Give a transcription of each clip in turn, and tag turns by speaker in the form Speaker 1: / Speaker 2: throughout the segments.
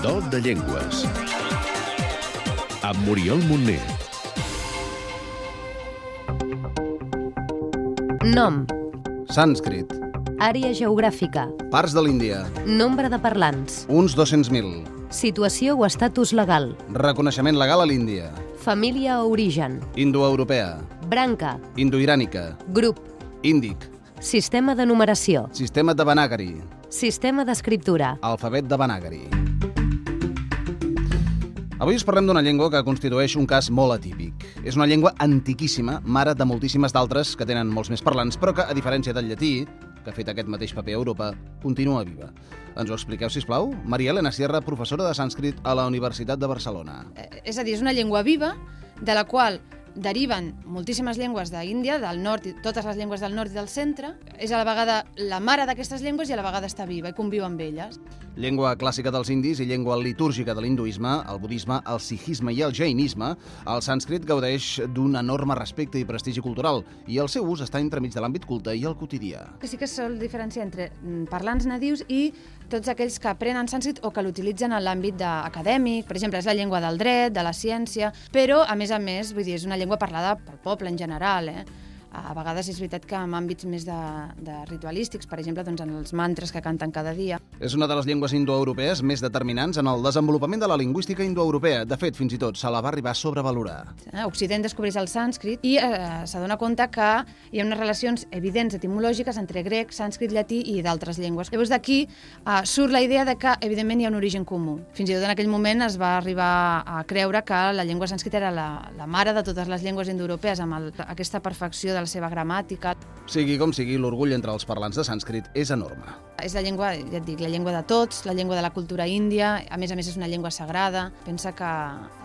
Speaker 1: Club de Llengües. Amb Oriol Montner.
Speaker 2: Nom,
Speaker 3: Sànscrit.
Speaker 2: àrea geogràfica,
Speaker 3: Parts de l'Índia.
Speaker 2: nombre de parlants,
Speaker 3: Uns 200.000.
Speaker 2: situació o estatus legal,
Speaker 3: Reconeixement legal a l'Índia.
Speaker 2: família o origen,
Speaker 3: Indoeuropea.
Speaker 2: branca,
Speaker 3: Indoirànica.
Speaker 2: grup,
Speaker 3: Índic.
Speaker 2: sistema de numeració,
Speaker 3: Sistema de Banagari.
Speaker 2: sistema d'escriptura,
Speaker 3: Alfabet de Banagari. Avui us parlem d'una llengua que constitueix un cas molt atípic. És una llengua antiquíssima, mare de moltíssimes d'altres que tenen molts més parlants, però que, a diferència del llatí, que ha fet aquest mateix paper a Europa, continua viva. Ens ho expliqueu, si plau? Maria Elena Sierra, professora de sànscrit a la Universitat de Barcelona.
Speaker 4: Eh, És a dir, és una llengua viva de la qual deriven moltíssimes llengües d'Índia, del nord, i totes les llengües del nord i del centre. És a la vegada la mare d'aquestes llengües i a la vegada està viva i conviu amb elles.
Speaker 3: Llengua clàssica dels indis i llengua litúrgica de l'hinduisme, el budisme, el sikhisme i el jainisme, el sànscrit gaudeix d'un enorme respecte i prestigi cultural i el seu ús està entremig de l'àmbit culte i el quotidià.
Speaker 4: Que sí que es sol diferenciar entre mm, parlants nadius i tots aquells que aprenen sànscrit o que l'utilitzen en l'àmbit de- acadèmic. Per exemple, és la llengua del dret, de la ciència, però, a més a més, vull dir, és una llengua parlada pel poble en general, eh? A vegades és veritat que en àmbits més de, de ritualístics, per exemple, doncs en els mantres que canten cada dia,
Speaker 3: És una de les llengües indoeuropees més determinants en el desenvolupament de la lingüística indoeuropea. De fet, fins i tot se la va arribar a sobrevalorar.
Speaker 4: Eh? Occident descobreix el sànscrit i eh, s'adona compte que hi ha unes relacions evidents etimològiques entre grec, sànscrit, llatí i d'altres llengües. Llavors d'aquí eh, surt la idea de que evidentment hi ha un origen comú. Fins i tot en aquell moment es va arribar a creure que la llengua sànscrita era la, la mare de totes les llengües indoeuropees amb el, aquesta perfecció de la seva gramàtica.
Speaker 3: Sigui com sigui, l'orgull entre els parlants de sànscrit és enorme.
Speaker 4: És la llengua, ja et dic, la llengua de tots, la llengua de la cultura índia, a més a més és una llengua sagrada. Pensa que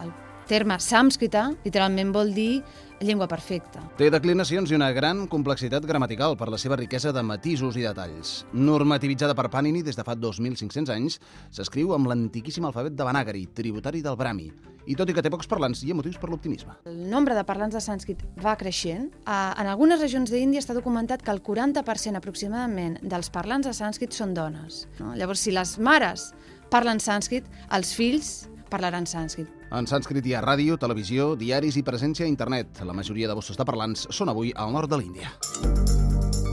Speaker 4: el terme sànscrita literalment vol dir llengua perfecta.
Speaker 3: Té declinacions i una gran complexitat gramatical per la seva riquesa de matisos i detalls. Normativitzada per Panini des de fa 2.500 anys, s'escriu amb l'antiquíssim alfabet de Banagari, tributari del Brahmi. I tot i que té pocs parlants, hi ha motius per l'optimisme.
Speaker 4: El nombre de parlants de sànscrit va creixent. Ah, En algunes regions d'Índia està documentat que el 40% aproximadament dels parlants de sànscrit són dones. No? Llavors, si les mares parlen sànscrit, els fills parlaran sànscrit.
Speaker 3: En sànscrit hi ha ràdio, televisió, diaris i presència a internet. La majoria de bosses de parlants són avui al nord de l'Índia.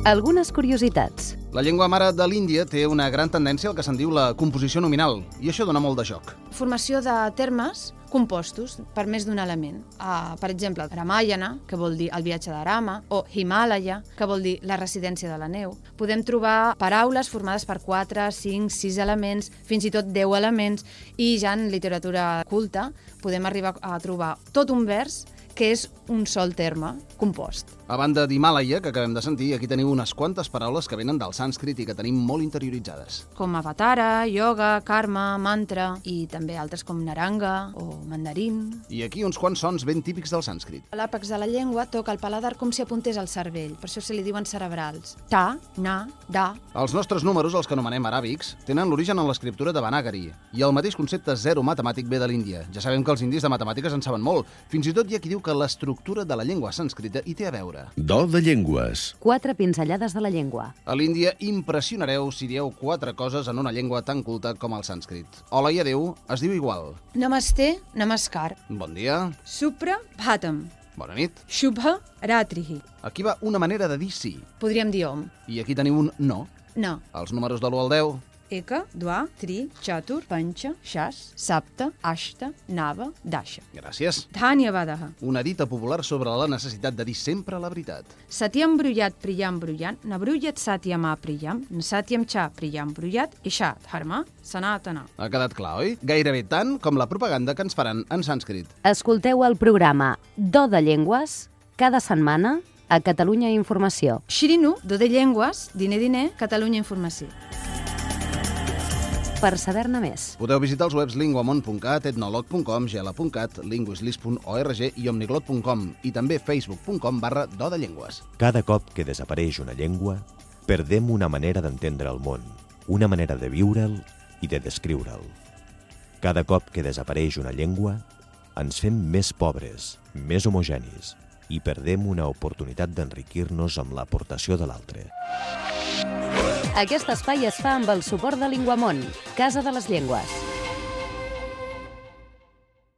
Speaker 2: algunes curiositats.
Speaker 3: La llengua mare de l'Índia té una gran tendència al que se'n diu la composició nominal, i això dona molt de joc.
Speaker 4: Formació de termes compostos per més d'un element. Ah, Per exemple, Ramayana, que vol dir el viatge de Rama, o Himalaya, que vol dir la residència de la neu. Podem trobar paraules formades per 4, 5, 6 elements, fins i tot 10 elements, i ja en literatura culta podem arribar a trobar tot un vers que és un sol terme compost.
Speaker 3: A banda d'Himàlaia, que acabem de sentir, aquí teniu unes quantes paraules que venen del sànscrit i que tenim molt interioritzades.
Speaker 4: com avatara, yoga, karma, mantra i també altres com naranga o mandarín.
Speaker 3: I aquí uns quants sons ben típics del sànscrit.
Speaker 4: L'àpex de la llengua toca el paladar com si apuntés al cervell, per això se li diuen cerebrals. Ta, na, da.
Speaker 3: Els nostres números, els que anomenem aràbics, tenen l'origen en l'escriptura de Banagari, i el mateix concepte zero matemàtic ve de l'Índia. Ja sabem que els indis de matemàtiques en saben molt. Fins i tot hi ha qui diu que l'estructura de la llengua sànscrita hi té a veure.
Speaker 1: Do de Llengües.
Speaker 2: Quatre pinzellades de la llengua.
Speaker 3: A l'Índia impressionareu si dieu quatre coses en una llengua tan culta com el sànscrit. Hola i adeu es diu igual.
Speaker 4: Namasté, namaskar.
Speaker 3: Bon dia,
Speaker 4: Supra, bhatam.
Speaker 3: bona nit.
Speaker 4: Shubha, ratrihi.
Speaker 3: Aquí va una manera de dir sí,
Speaker 4: Podríem dir om.
Speaker 3: i aquí teniu un no.
Speaker 4: No.
Speaker 3: Els números de l'1 al 10,
Speaker 4: Eka, dva, tri, chatur, pancha, shas, sapta, ashta, nava, dasha.
Speaker 3: gràcies.
Speaker 4: Dhanyavadaha.
Speaker 3: Una dita popular sobre la necessitat de dir sempre la veritat.
Speaker 4: Satyam brullat priyam brullant, nabrullat satyam apriyam, satyam cha priyam brullat, isha dharma sanatana.
Speaker 3: Ha quedat clar, oi? Gairebé tant com la propaganda que ens faran en sànscrit.
Speaker 2: Escolteu el programa Do de Llengües cada setmana a Catalunya Informació.
Speaker 4: Xirinu, do de llengües, diner diner, Catalunya Informació.
Speaker 2: Per saber-ne més,
Speaker 3: Podeu visitar els webs linguamont.cat, etnolog.com, gela.cat, linguislis.org i omniglot.com i també facebook.com barra do de llengües.
Speaker 5: Cada cop que desapareix una llengua, perdem una manera d'entendre el món, una manera de viure'l i de descriure'l. Cada cop que desapareix una llengua, ens fem més pobres, més homogenis i perdem una oportunitat d'enriquir-nos amb l'aportació de l'altre.
Speaker 2: aquest espai es fa amb el suport de Linguamont, Casa de les Llengües.